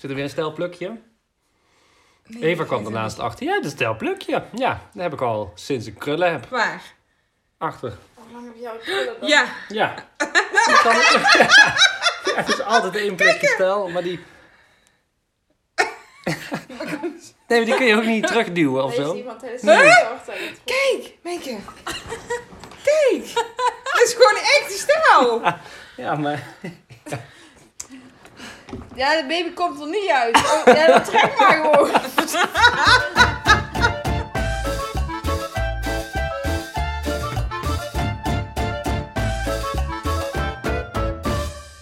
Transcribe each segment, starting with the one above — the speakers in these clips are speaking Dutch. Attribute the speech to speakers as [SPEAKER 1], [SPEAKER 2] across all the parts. [SPEAKER 1] Zit er weer een stelplukje? Eva kwam ernaast achter. Ja, dat is een stelplukje. Ja, dat heb ik al sinds ik krullen heb.
[SPEAKER 2] Waar?
[SPEAKER 1] Achter.
[SPEAKER 3] Hoe lang heb jij het krullen dan?
[SPEAKER 2] Ja.
[SPEAKER 1] Ja. Ik kan het- ja. Het is altijd één plukje stel, maar die... Nee, maar die kun je ook niet terugduwen of
[SPEAKER 3] Wees
[SPEAKER 1] zo.
[SPEAKER 3] iemand tijdens de zorg dat je het goed-
[SPEAKER 2] Kijk, Meike. Kijk. Dat is gewoon echt de stijl.
[SPEAKER 1] Ja, maar...
[SPEAKER 3] Ja, de baby komt er niet uit. Oh, ja, dat trek maar gewoon.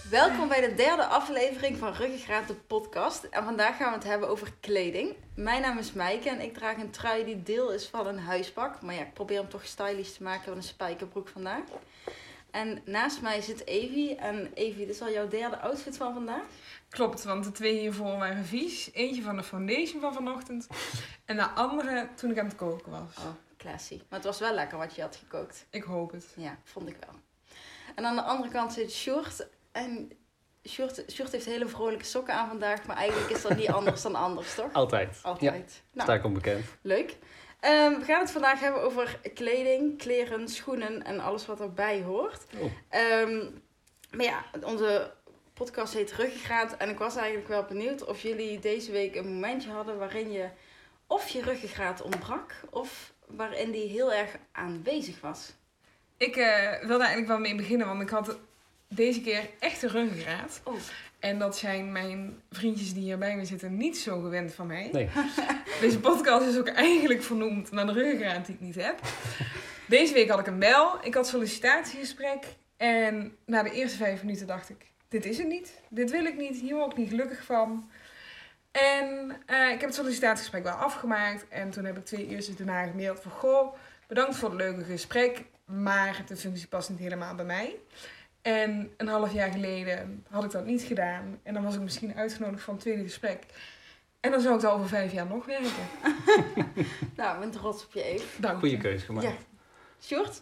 [SPEAKER 3] Welkom bij de derde aflevering van Ruggengraat de podcast. En vandaag gaan we het hebben over kleding. Mijn naam is Maaike en ik draag een trui die deel is van een huispak. Maar ja, ik probeer hem toch stylish te maken met een spijkerbroek vandaag. En naast mij zit Evie. En Evie, dit is al jouw derde outfit van vandaag.
[SPEAKER 2] Klopt, want de twee hiervoor waren vies. Eentje van de foundation van vanochtend. En de andere toen ik aan het koken was.
[SPEAKER 3] Oh, classy. Maar het was wel lekker wat je had gekookt.
[SPEAKER 2] Ik hoop het.
[SPEAKER 3] Ja, vond ik wel. En aan de andere kant zit Sjoerd. En Sjoerd, Sjoerd heeft hele vrolijke sokken aan vandaag. Maar eigenlijk is dat niet anders dan anders, toch?
[SPEAKER 1] Altijd. Ja,
[SPEAKER 3] Altijd.
[SPEAKER 1] sta
[SPEAKER 3] Nou,
[SPEAKER 1] ik onbekend.
[SPEAKER 3] leuk. Ehm, we gaan het vandaag hebben over kleding, kleren, schoenen en alles wat erbij hoort.
[SPEAKER 1] Oh.
[SPEAKER 3] Ehm, maar ja, onze podcast heet Ruggengraat. En ik was eigenlijk wel benieuwd of jullie deze week een momentje hadden waarin je of je ruggengraat ontbrak of waarin die heel erg aanwezig was.
[SPEAKER 2] Ik eh, wilde eigenlijk wel mee beginnen, want ik had deze keer echt een ruggengraat.
[SPEAKER 3] Oh.
[SPEAKER 2] En dat zijn mijn vriendjes die hier bij me zitten niet zo gewend van mij.
[SPEAKER 1] Nee.
[SPEAKER 2] Deze podcast is ook eigenlijk vernoemd naar de ruggengraat die ik niet heb. Deze week had ik een bel. Ik had sollicitatiegesprek. En na de eerste vijf minuten dacht ik, dit is het niet. Dit wil ik niet. Hier word ik niet gelukkig van. En eh, ik heb het sollicitatiegesprek wel afgemaakt. En toen heb ik twee uurtjes daarna gemaild van... Goh, bedankt voor het leuke gesprek. Maar de functie past niet helemaal bij mij. En een half jaar geleden had ik dat niet gedaan. En dan was ik misschien uitgenodigd voor een tweede gesprek. En dan zou ik daar over vijf jaar nog werken.
[SPEAKER 3] Nou, ik ben trots op je even.
[SPEAKER 2] Dank
[SPEAKER 1] Goede
[SPEAKER 2] je.
[SPEAKER 1] keuze gemaakt.
[SPEAKER 3] Ja. Sjoerd?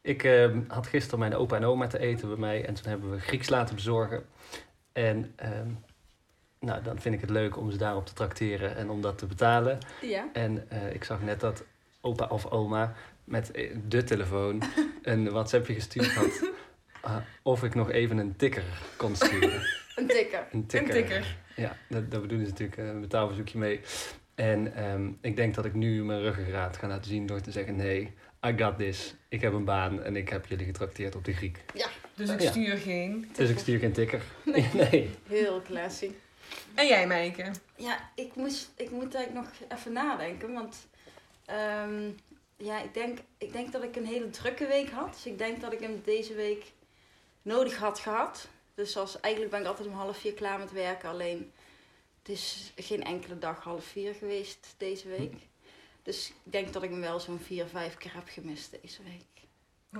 [SPEAKER 1] Ik ehm, had gisteren mijn opa en oma te eten bij mij en toen hebben we Grieks laten bezorgen. En ehm, nou, dan vind ik het leuk om ze daarop te tracteren en om dat te betalen.
[SPEAKER 3] Ja.
[SPEAKER 1] En eh, ik zag net dat opa of oma met eh, de telefoon een WhatsAppje gestuurd had. eh, of ik nog even een tikker kon sturen.
[SPEAKER 3] Een dikke.
[SPEAKER 1] Een
[SPEAKER 2] Een
[SPEAKER 1] tikker.
[SPEAKER 2] tikker.
[SPEAKER 1] Ja, dat, dat bedoelen ze natuurlijk, eh, een betaalverzoekje mee. En ehm, ik denk dat ik nu mijn ruggengraat ga laten zien door te zeggen... nee, I got this. Ik heb een baan en ik heb jullie getrakteerd op de Griek.
[SPEAKER 2] Dus ik
[SPEAKER 1] Ja.
[SPEAKER 2] stuur geen.
[SPEAKER 1] Dus ik stuur geen tikker. Nee.
[SPEAKER 3] Heel classy.
[SPEAKER 2] En jij, Meike?
[SPEAKER 3] Ja, ik, moest, ik moet eigenlijk nog even nadenken. Want ehm, ja, ik, denk, ik denk dat ik een hele drukke week had. Dus ik denk dat ik hem deze week nodig had gehad. Dus als, eigenlijk ben ik altijd om half vier klaar met werken. Alleen het is geen enkele dag half vier geweest deze week. Dus ik denk dat ik hem wel zo'n vier, vijf keer heb gemist deze week.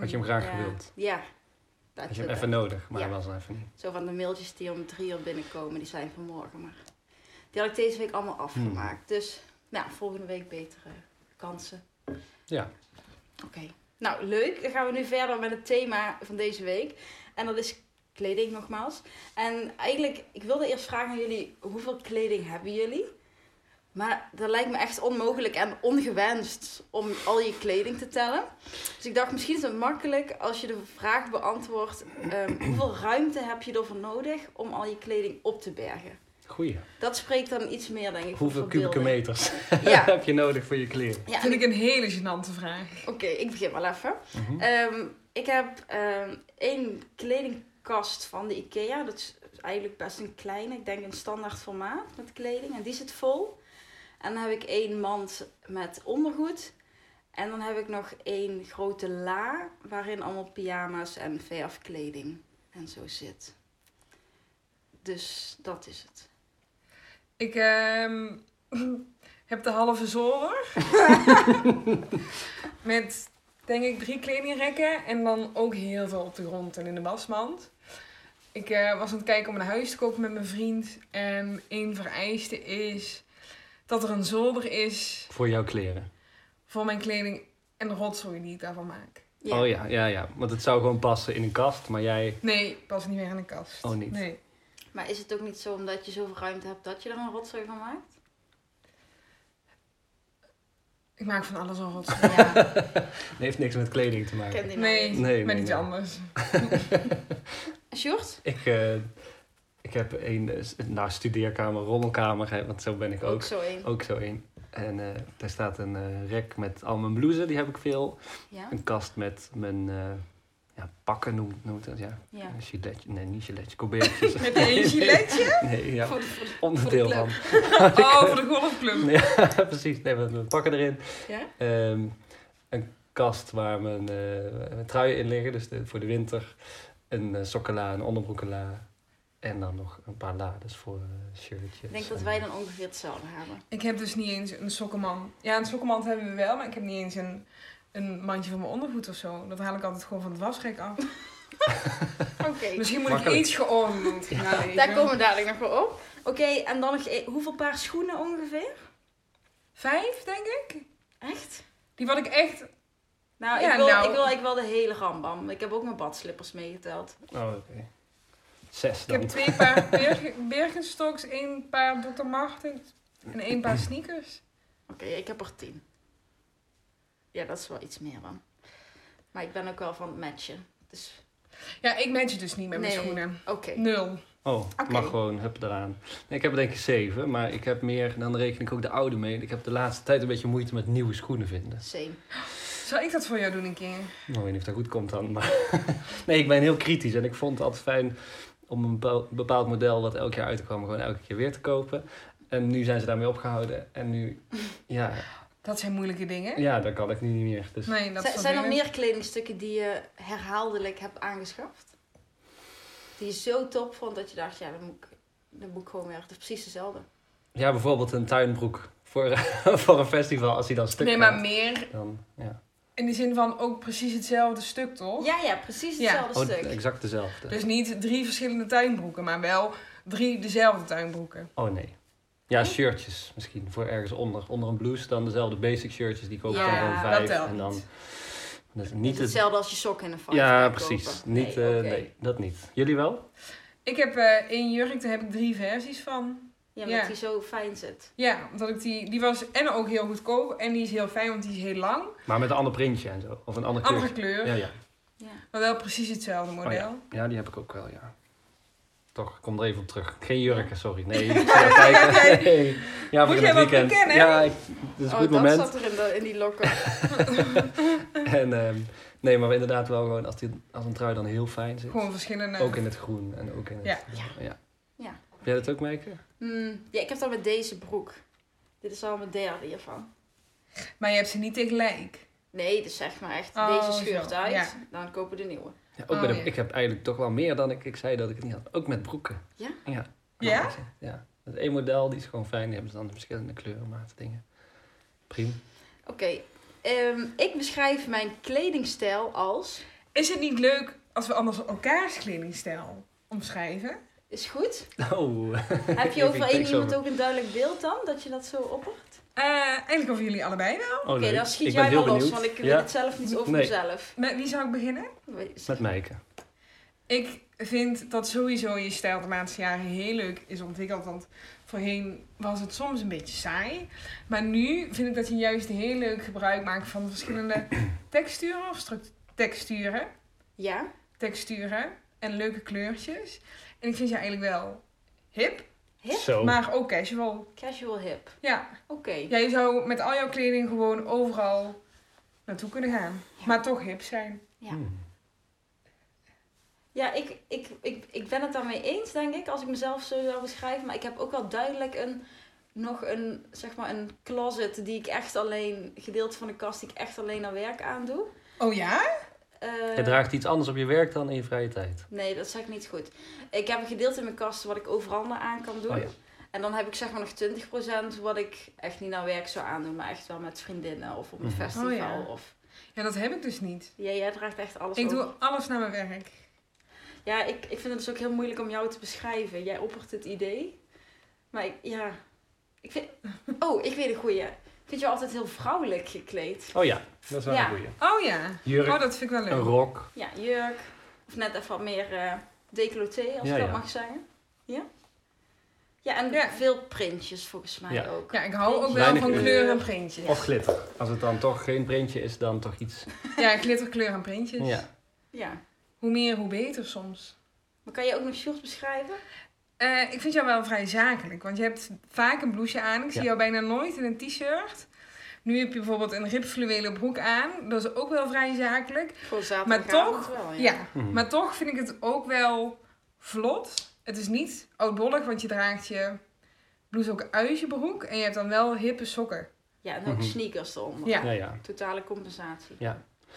[SPEAKER 1] Had je hem graag
[SPEAKER 3] ja.
[SPEAKER 1] gewild.
[SPEAKER 3] Ja. Dat
[SPEAKER 1] Had je hem
[SPEAKER 3] dat-
[SPEAKER 1] even nodig, maar
[SPEAKER 3] Ja.
[SPEAKER 1] hij was er even niet.
[SPEAKER 3] zo van de mailtjes die om drie uur binnenkomen, die zijn vanmorgen. Maar die had ik deze week allemaal afgemaakt. Dus nou, volgende week betere kansen.
[SPEAKER 1] Ja.
[SPEAKER 3] Oké. Nou, leuk. Dan gaan we nu verder met het thema van deze week. En dat is kleding nogmaals. En eigenlijk, ik wilde eerst vragen aan jullie, hoeveel kleding hebben jullie? Maar dat lijkt me echt onmogelijk en ongewenst om al je kleding te tellen. Dus ik dacht, misschien is het makkelijk als je de vraag beantwoordt... ehm, hoeveel ruimte heb je ervoor nodig om al je kleding op te bergen?
[SPEAKER 1] Goeie.
[SPEAKER 3] Dat spreekt dan iets meer, denk ik. voor
[SPEAKER 1] Hoeveel kubieke
[SPEAKER 3] verbeelding.
[SPEAKER 1] meters
[SPEAKER 3] Ja,
[SPEAKER 1] heb je nodig voor je kleren?
[SPEAKER 3] ja
[SPEAKER 2] Vind ik een hele gênante vraag.
[SPEAKER 3] oké, ik begin wel even.
[SPEAKER 1] Mhm.
[SPEAKER 3] Ehm, ik heb ehm, één kledingkast van de IKEA. Dat is eigenlijk best een kleine, ik denk een standaard formaat met kleding. En die zit vol. En dan heb ik één mand met ondergoed. En dan heb ik nog één grote la waarin allemaal pyjama's en verfkleding en zo zit. Dus dat is het.
[SPEAKER 2] Ik ehm, heb de halve zorg. Met, denk ik, drie kledingrekken. En dan ook heel veel op de grond en in de wasmand. Ik eh, was aan het kijken om een huis te kopen met mijn vriend. En één vereiste is dat er een zolder is
[SPEAKER 1] Voor jouw kleren.
[SPEAKER 2] voor mijn kleding en de rotzooi die ik daarvan maak.
[SPEAKER 3] Ja.
[SPEAKER 1] Oh ja, ja, ja. Want het zou gewoon passen in een kast, maar jij...
[SPEAKER 2] Nee, pas niet meer aan de kast.
[SPEAKER 1] Oh, niet.
[SPEAKER 2] Nee.
[SPEAKER 3] Maar is het ook niet zo omdat je zoveel ruimte hebt dat je er een rotzooi van maakt?
[SPEAKER 2] Ik maak van alles een rotzooi.
[SPEAKER 3] Ja,
[SPEAKER 1] Het heeft niks met kleding te
[SPEAKER 3] ik
[SPEAKER 1] maken.
[SPEAKER 3] ken die
[SPEAKER 2] Nee,
[SPEAKER 3] nog
[SPEAKER 2] maar
[SPEAKER 1] nee,
[SPEAKER 2] niet
[SPEAKER 1] nee.
[SPEAKER 2] anders.
[SPEAKER 3] niet. Sjoerd?
[SPEAKER 1] Ik, eh, ik heb een eh, s- nou, studeerkamer, rommelkamer, hè, want zo ben ik ook. Oh.
[SPEAKER 3] Ook zo één.
[SPEAKER 1] Ook zo één. En eh, daar staat een eh, rek met al mijn blouses, die heb ik veel.
[SPEAKER 3] Ja?
[SPEAKER 1] Een kast met mijn eh, ja, pakken, noemt, noemt dat, ja.
[SPEAKER 3] Ja.
[SPEAKER 1] Een Giletje, nee, niet giletje, kobeertjes.
[SPEAKER 2] Met een giletje?
[SPEAKER 1] Nee, ja,
[SPEAKER 3] Voor de- voor de-
[SPEAKER 1] onderdeel van.
[SPEAKER 2] Oh, voor de golfclub.
[SPEAKER 1] Ja, precies. Nee, met mijn pakken erin.
[SPEAKER 3] ja?
[SPEAKER 1] Ehm, een kast waar mijn, eh, mijn truien in liggen, dus de- voor de winter. Een eh, sokkenla, een onderbroekenla. En dan nog een paar lades voor eh, shirtjes.
[SPEAKER 3] Ik denk dat
[SPEAKER 1] en-
[SPEAKER 3] wij dan ongeveer hetzelfde hebben.
[SPEAKER 2] Ik heb dus niet eens een sokkenmand. Ja, een sokkenmand hebben we wel, maar ik heb niet eens een, een mandje van mijn ondergoed of zo. Dat haal ik altijd gewoon van het wasrek af.
[SPEAKER 3] Oké,
[SPEAKER 2] Misschien moet
[SPEAKER 1] Makkelijk.
[SPEAKER 2] ik iets geordend gaan leven.
[SPEAKER 3] daar komen we dadelijk nog wel op. Oké, en dan nog één- hoeveel paar schoenen ongeveer?
[SPEAKER 2] Vijf, denk ik.
[SPEAKER 3] Echt?
[SPEAKER 2] Die wat ik echt...
[SPEAKER 3] Nou,
[SPEAKER 2] Ja,
[SPEAKER 3] ik, wil,
[SPEAKER 2] nou.
[SPEAKER 3] ik wil eigenlijk wel de hele rambam. Ik heb ook mijn badslippers meegeteld.
[SPEAKER 1] Oh, oké. Zes
[SPEAKER 2] Ik heb
[SPEAKER 1] dan.
[SPEAKER 2] twee paar Berg- Birkenstocks, één paar Dr. Martens en één paar sneakers.
[SPEAKER 3] Oké, ik heb er tien. Ja, dat is wel iets meer dan. Maar ik ben ook wel van het matchen. Dus
[SPEAKER 2] Ja, ik match dus niet met mijn
[SPEAKER 3] Nee.
[SPEAKER 2] schoenen.
[SPEAKER 3] oké.
[SPEAKER 2] Nul.
[SPEAKER 1] Oh,
[SPEAKER 3] Oké.
[SPEAKER 1] mag gewoon, hup eraan. Nee, ik heb er denk ik zeven, maar ik heb meer, en dan reken ik ook de oude mee. Ik heb de laatste tijd een beetje moeite met nieuwe schoenen vinden.
[SPEAKER 3] Same.
[SPEAKER 2] Zal ik dat voor jou doen een keer?
[SPEAKER 1] Nou, ik weet niet of dat goed komt dan, maar... nee, ik ben heel kritisch en ik vond het altijd fijn om een bepaal- bepaald model wat elk jaar uitkwam gewoon elke keer weer te kopen. En nu zijn ze daarmee opgehouden en nu, ja,
[SPEAKER 2] Dat zijn moeilijke dingen.
[SPEAKER 1] ja dat kan ik nu niet meer. Dus
[SPEAKER 2] Nee, dat
[SPEAKER 3] Zijn-
[SPEAKER 2] is
[SPEAKER 3] zijn er
[SPEAKER 2] wel
[SPEAKER 3] meer kledingstukken die je herhaaldelijk hebt aangeschaft? Die je zo top vond dat je dacht, ja, dat moet ik, dat moet ik gewoon weer. Het is precies dezelfde.
[SPEAKER 1] ja, bijvoorbeeld een tuinbroek voor, voor een festival, als die dan stuk
[SPEAKER 2] Nee, maar
[SPEAKER 1] gaat,
[SPEAKER 2] meer
[SPEAKER 1] dan, ja.
[SPEAKER 2] in de zin van ook precies hetzelfde stuk, toch?
[SPEAKER 3] Ja, ja, precies
[SPEAKER 2] Ja.
[SPEAKER 3] hetzelfde
[SPEAKER 1] Oh,
[SPEAKER 3] stuk.
[SPEAKER 1] exact dezelfde.
[SPEAKER 2] Dus niet drie verschillende tuinbroeken, maar wel drie dezelfde tuinbroeken.
[SPEAKER 1] Oh nee. Ja, shirtjes misschien. Voor ergens onder. Onder een blouse dan dezelfde basic shirtjes. Die koop ik
[SPEAKER 3] Ja,
[SPEAKER 1] dan gewoon
[SPEAKER 3] dat
[SPEAKER 1] vijf.
[SPEAKER 2] telt
[SPEAKER 1] en dan dus
[SPEAKER 3] Het
[SPEAKER 1] niet
[SPEAKER 3] is
[SPEAKER 1] het-
[SPEAKER 3] hetzelfde als je sok in een vak.
[SPEAKER 1] Ja, precies. Niet, eh,
[SPEAKER 3] nee, oké.
[SPEAKER 1] nee, dat niet. Jullie wel?
[SPEAKER 2] Ik heb eh één jurk, daar heb ik drie versies van.
[SPEAKER 3] Ja,
[SPEAKER 2] Ja.
[SPEAKER 3] omdat die zo fijn zit.
[SPEAKER 2] Ja, omdat ik die... Die was en ook heel goedkoop en die is heel fijn, want die is heel lang.
[SPEAKER 1] Maar met een ander printje en zo. Of een ander
[SPEAKER 2] Andere
[SPEAKER 1] kleurtje.
[SPEAKER 2] kleur,
[SPEAKER 1] Ja, Oh, ja.
[SPEAKER 3] Ja.
[SPEAKER 2] maar wel precies hetzelfde model.
[SPEAKER 1] ja, die heb ik ook wel, ja. Toch, ik kom er even op terug. Geen jurken, sorry. Nee, ik zat te kijken.
[SPEAKER 2] Kijk.
[SPEAKER 1] Nee. Ja,
[SPEAKER 2] Moet
[SPEAKER 1] voor in
[SPEAKER 2] jij
[SPEAKER 1] het
[SPEAKER 2] wat
[SPEAKER 1] weekend.
[SPEAKER 2] bekennen?
[SPEAKER 1] Ja, ik- dit is een
[SPEAKER 3] oh,
[SPEAKER 1] goed
[SPEAKER 3] dat
[SPEAKER 1] moment.
[SPEAKER 3] zat er in, de, in die lokken.
[SPEAKER 1] En, ehm, nee, maar inderdaad wel gewoon als, die, als een trui dan heel fijn zit.
[SPEAKER 2] Gewoon verschillende...
[SPEAKER 1] Ook in het groen en ook in het...
[SPEAKER 2] eh. Ja.
[SPEAKER 3] Ja.
[SPEAKER 1] ja.
[SPEAKER 3] Ja.
[SPEAKER 1] Heb jij dat ook, Meike?
[SPEAKER 3] Hmm, ja, ik heb dat met deze broek. Dit is al mijn derde hiervan.
[SPEAKER 2] Maar je hebt ze niet tegelijk.
[SPEAKER 3] Nee, dus zeg maar echt,
[SPEAKER 2] Oh,
[SPEAKER 3] deze scheurt
[SPEAKER 2] zo,
[SPEAKER 3] uit,
[SPEAKER 2] ja.
[SPEAKER 3] dan kopen we de nieuwe.
[SPEAKER 1] Ja, ook
[SPEAKER 2] Oh,
[SPEAKER 1] met de-
[SPEAKER 2] ja.
[SPEAKER 1] Ik heb eigenlijk toch wel meer dan ik, ik zei dat ik het niet had. Ook met broeken.
[SPEAKER 3] Ja?
[SPEAKER 1] Ja.
[SPEAKER 2] Ja?
[SPEAKER 1] Ja. Het één model, die is gewoon fijn. Die hebben ze dan in verschillende kleuren, maten, dingen. Prima.
[SPEAKER 3] Oké, ehm, ik beschrijf mijn kledingstijl als...
[SPEAKER 2] Is het niet leuk als we anders elkaars kledingstijl omschrijven?
[SPEAKER 3] Is goed?
[SPEAKER 1] Oh.
[SPEAKER 3] Heb je
[SPEAKER 1] Ik
[SPEAKER 3] over
[SPEAKER 1] denk
[SPEAKER 3] één
[SPEAKER 1] zo.
[SPEAKER 3] iemand ook een duidelijk beeld dan, dat je dat zo oppert?
[SPEAKER 2] Eh eigenlijk over jullie allebei wel.
[SPEAKER 1] Oh,
[SPEAKER 3] Oké,
[SPEAKER 1] leuk.
[SPEAKER 3] dan schiet
[SPEAKER 1] Ik ben
[SPEAKER 3] jij
[SPEAKER 1] heel
[SPEAKER 3] wel los,
[SPEAKER 1] benieuwd.
[SPEAKER 3] want ik weet
[SPEAKER 1] Ja,
[SPEAKER 3] het zelf niet over
[SPEAKER 1] Nee.
[SPEAKER 3] mezelf.
[SPEAKER 2] Met wie zou ik beginnen?
[SPEAKER 1] met Meike.
[SPEAKER 2] Ik vind dat sowieso je stijl de laatste jaren heel leuk is ontwikkeld. Want voorheen was het soms een beetje saai. Maar nu vind ik dat je juist heel leuk gebruik maakt van verschillende texturen of struct- texturen,
[SPEAKER 3] Ja?
[SPEAKER 2] texturen en leuke kleurtjes. En ik vind je eigenlijk wel hip,
[SPEAKER 3] Hip?
[SPEAKER 1] Zo.
[SPEAKER 2] maar ook casual.
[SPEAKER 3] Casual hip.
[SPEAKER 2] Ja,
[SPEAKER 3] Oké.
[SPEAKER 2] jij zou met al jouw kleding gewoon overal naartoe kunnen gaan. Maar toch hip zijn.
[SPEAKER 3] Ja.
[SPEAKER 1] Hmm.
[SPEAKER 3] Ja, ik, ik, ik, ik ben het daarmee eens, denk ik, als ik mezelf zo zou beschrijven. Maar ik heb ook wel duidelijk een, nog een, zeg maar een closet die ik echt alleen, gedeelte van de kast die ik echt alleen naar werk aan doe.
[SPEAKER 2] Oh ja?
[SPEAKER 3] Eh,
[SPEAKER 1] Je draagt iets anders op je werk dan in je vrije tijd.
[SPEAKER 3] Nee, dat zeg ik niet goed. Ik heb een gedeelte in mijn kast wat ik overal naar aan kan doen.
[SPEAKER 1] Oh ja.
[SPEAKER 3] En dan heb ik zeg maar nog 20% wat ik echt niet naar werk zou aandoen, maar echt wel met vriendinnen of op een
[SPEAKER 1] Mhm.
[SPEAKER 3] festival.
[SPEAKER 2] Oh ja.
[SPEAKER 3] of...
[SPEAKER 2] Ja, dat heb ik dus niet.
[SPEAKER 3] ja, jij draagt echt alles
[SPEAKER 2] Ik
[SPEAKER 3] over.
[SPEAKER 2] doe alles naar mijn werk.
[SPEAKER 3] Ja, ik, ik vind het dus ook heel moeilijk om jou te beschrijven. Jij oppert het idee. Maar ik, ja. Ik vind... Oh, ik weet een goeie. Ik vind jou altijd heel vrouwelijk gekleed.
[SPEAKER 1] Oh ja, dat is wel
[SPEAKER 3] Ja.
[SPEAKER 1] een goeie.
[SPEAKER 2] Oh ja.
[SPEAKER 1] Jurk,
[SPEAKER 2] Oh, dat vind ik wel
[SPEAKER 1] een
[SPEAKER 2] leuk.
[SPEAKER 1] rok.
[SPEAKER 3] Ja, jurk. Of net even wat meer eh decolleté, als
[SPEAKER 1] Ja,
[SPEAKER 3] ik dat
[SPEAKER 1] ja.
[SPEAKER 3] mag zeggen. Ja, en
[SPEAKER 2] Ja.
[SPEAKER 3] veel printjes volgens mij
[SPEAKER 1] Ja.
[SPEAKER 3] ook.
[SPEAKER 2] Ja, ik hou ook wel
[SPEAKER 1] Weinig
[SPEAKER 2] van
[SPEAKER 1] kleur.
[SPEAKER 2] kleur en printjes.
[SPEAKER 1] Of glitter. Als het dan toch geen printje is, dan toch iets.
[SPEAKER 2] Ja, glitter, kleur en printjes.
[SPEAKER 1] Ja.
[SPEAKER 3] Ja.
[SPEAKER 2] Hoe meer, hoe beter soms.
[SPEAKER 3] Maar kan je ook nog shorts beschrijven?
[SPEAKER 2] Eh, ik vind jou wel vrij zakelijk, want je hebt vaak een blouseje aan. Ik zie
[SPEAKER 1] Ja.
[SPEAKER 2] jou bijna nooit in een t-shirt. Nu heb je bijvoorbeeld een ribfluwelen broek aan. Dat is ook wel vrij zakelijk.
[SPEAKER 3] Voor zaterdagavond wel,
[SPEAKER 2] Ja,
[SPEAKER 3] Oh ja.
[SPEAKER 1] Mhm.
[SPEAKER 2] maar toch vind ik het ook wel vlot. Het is niet oudbollig, want je draagt je blouse ook uit je broek. En je hebt dan wel hippe sokken.
[SPEAKER 3] Ja, en ook
[SPEAKER 1] Mhm.
[SPEAKER 3] sneakers eronder.
[SPEAKER 2] Ja,
[SPEAKER 1] Ja, ja.
[SPEAKER 3] Totale compensatie.
[SPEAKER 1] Dat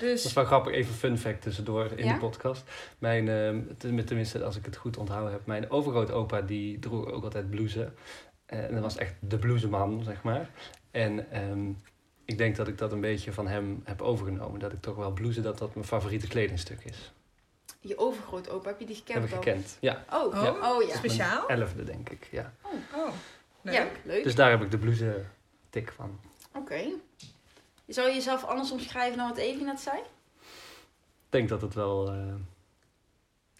[SPEAKER 2] dus
[SPEAKER 1] is wel grappig. Even fun fact tussendoor in
[SPEAKER 2] Ja?
[SPEAKER 1] de podcast. Mijn, ehm, ten- tenminste, als ik het goed onthouden heb, mijn overgrootopa die droeg ook altijd blouses. Eh, en dat was echt de blouseman, zeg maar. En ehm, ik denk dat ik dat een beetje van hem heb overgenomen. Dat ik toch wel blouses, dat dat mijn favoriete kledingstuk is.
[SPEAKER 3] Je overgrootopa, heb je die gekend
[SPEAKER 1] heb ik
[SPEAKER 3] al?
[SPEAKER 1] gekend. Ja,
[SPEAKER 3] Oh,
[SPEAKER 2] Ja.
[SPEAKER 3] oh, oh ja.
[SPEAKER 2] speciaal.
[SPEAKER 1] elfde denk ik, ja.
[SPEAKER 2] Oh, leuk.
[SPEAKER 3] Ja, leuk.
[SPEAKER 1] Dus daar heb ik de blouse tik van.
[SPEAKER 3] Oké. Zou je jezelf anders omschrijven dan wat Evie net zei?
[SPEAKER 1] Ik denk dat het wel... eh,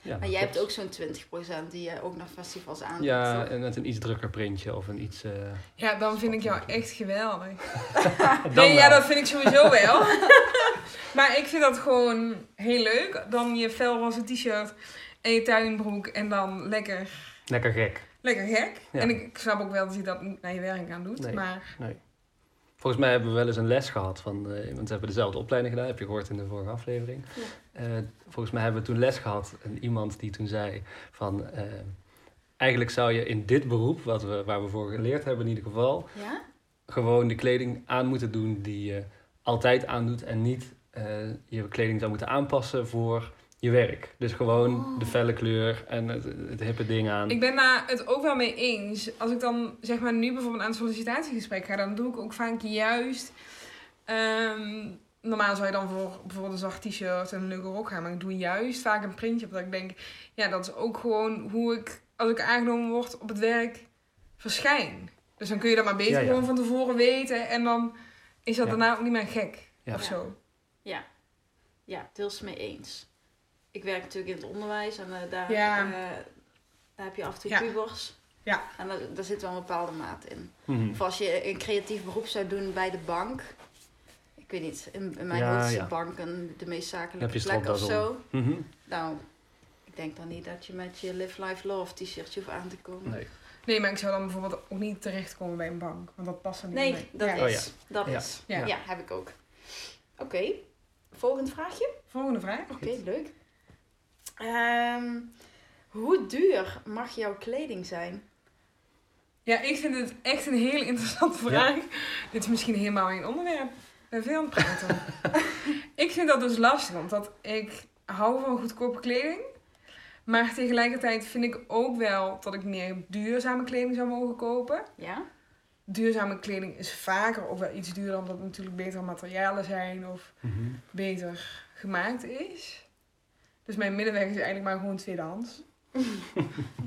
[SPEAKER 1] ja,
[SPEAKER 3] Maar jij
[SPEAKER 1] klopt.
[SPEAKER 3] hebt ook zo'n 20% die je ook naar festivals aan.
[SPEAKER 1] Ja, en met een iets drukker printje of een iets... eh,
[SPEAKER 2] Ja, dan vind ik jou echt geweldig.
[SPEAKER 1] dan
[SPEAKER 2] Ah, nee, ja,
[SPEAKER 1] wel.
[SPEAKER 2] dat vind ik sowieso wel. maar ik vind dat gewoon heel leuk. Dan je felroze t-shirt en je tuinbroek en dan lekker,
[SPEAKER 1] Lekker gek.
[SPEAKER 2] lekker gek.
[SPEAKER 1] Ja.
[SPEAKER 2] En ik, ik snap ook wel dat je dat niet naar je werk aan doet.
[SPEAKER 1] Nee.
[SPEAKER 2] Maar
[SPEAKER 1] Volgens mij hebben we wel eens een les gehad van, eh, want ze hebben dezelfde opleiding gedaan, heb je gehoord in de vorige aflevering.
[SPEAKER 3] Ja.
[SPEAKER 1] Eh, volgens mij hebben we toen les gehad en iemand die toen zei van, eh, eigenlijk zou je in dit beroep, wat we, waar we voor geleerd hebben in ieder geval,
[SPEAKER 3] Ja?
[SPEAKER 1] gewoon de kleding aan moeten doen die je altijd aandoet en niet eh, je kleding zou moeten aanpassen voor je werk. Dus gewoon
[SPEAKER 3] Oh.
[SPEAKER 1] de felle kleur en het, het hippe ding aan.
[SPEAKER 2] ik ben daar het ook wel mee eens. Als ik dan zeg maar nu bijvoorbeeld aan het sollicitatiegesprek ga, dan doe ik ook vaak juist. ehm, normaal zou je dan voor bijvoorbeeld een zacht t-shirt en een leuke rok gaan. Maar ik doe juist vaak een printje. Omdat ik denk, ja, dat is ook gewoon hoe ik, als ik aangenomen word op het werk, verschijn. Dus dan kun je dat maar beter
[SPEAKER 1] Ja, ja.
[SPEAKER 2] gewoon van tevoren weten. En dan is dat
[SPEAKER 1] Ja.
[SPEAKER 2] daarna ook niet meer gek.
[SPEAKER 1] Ja.
[SPEAKER 2] Of zo.
[SPEAKER 3] Ja, deels mee eens. Ik werk natuurlijk in het onderwijs en eh, daar,
[SPEAKER 2] Ja.
[SPEAKER 3] eh, daar heb je af en toe
[SPEAKER 2] Ja.
[SPEAKER 3] pubers.
[SPEAKER 2] Ja.
[SPEAKER 3] En daar, daar zit wel een bepaalde maat in.
[SPEAKER 1] Mhm.
[SPEAKER 3] Of als je een creatief beroep zou doen bij de bank. Ik weet niet, in, in mijn
[SPEAKER 1] Ja,
[SPEAKER 3] hoofd is
[SPEAKER 1] ja.
[SPEAKER 3] de bank een, de meest
[SPEAKER 1] Heb
[SPEAKER 3] zakelijke
[SPEAKER 1] je
[SPEAKER 3] plek of
[SPEAKER 1] stropdas om.
[SPEAKER 3] zo.
[SPEAKER 1] Mhm.
[SPEAKER 3] Nou, ik denk dan niet dat je met je Live Life Love t-shirtje hoeft aan te komen.
[SPEAKER 1] Nee.
[SPEAKER 2] Nee, maar ik zou dan bijvoorbeeld ook niet terechtkomen bij een bank. Want dat past er niet
[SPEAKER 3] Nee,
[SPEAKER 2] bij.
[SPEAKER 3] dat
[SPEAKER 2] Ja.
[SPEAKER 1] Oh,
[SPEAKER 3] is. Dat
[SPEAKER 1] Ja.
[SPEAKER 3] is.
[SPEAKER 2] Ja.
[SPEAKER 3] Ja. heb ik ook. Oké, volgend vraagje.
[SPEAKER 2] Volgende vraag.
[SPEAKER 3] Oké, leuk. Ehm, hoe duur mag jouw kleding zijn?
[SPEAKER 2] Ja, ik vind het echt een heel interessante vraag. Dit is misschien helemaal mijn onderwerp. Ik ben veel aan het praten. ik vind dat dus lastig, omdat ik hou van goedkope kleding. Maar tegelijkertijd vind ik ook wel dat ik meer duurzame kleding zou mogen kopen.
[SPEAKER 3] Ja?
[SPEAKER 2] Duurzame kleding is vaker ook wel iets duurder, omdat het natuurlijk betere materialen zijn of
[SPEAKER 1] Mhm.
[SPEAKER 2] beter gemaakt is. Dus mijn middenweg is eigenlijk maar gewoon tweedehands.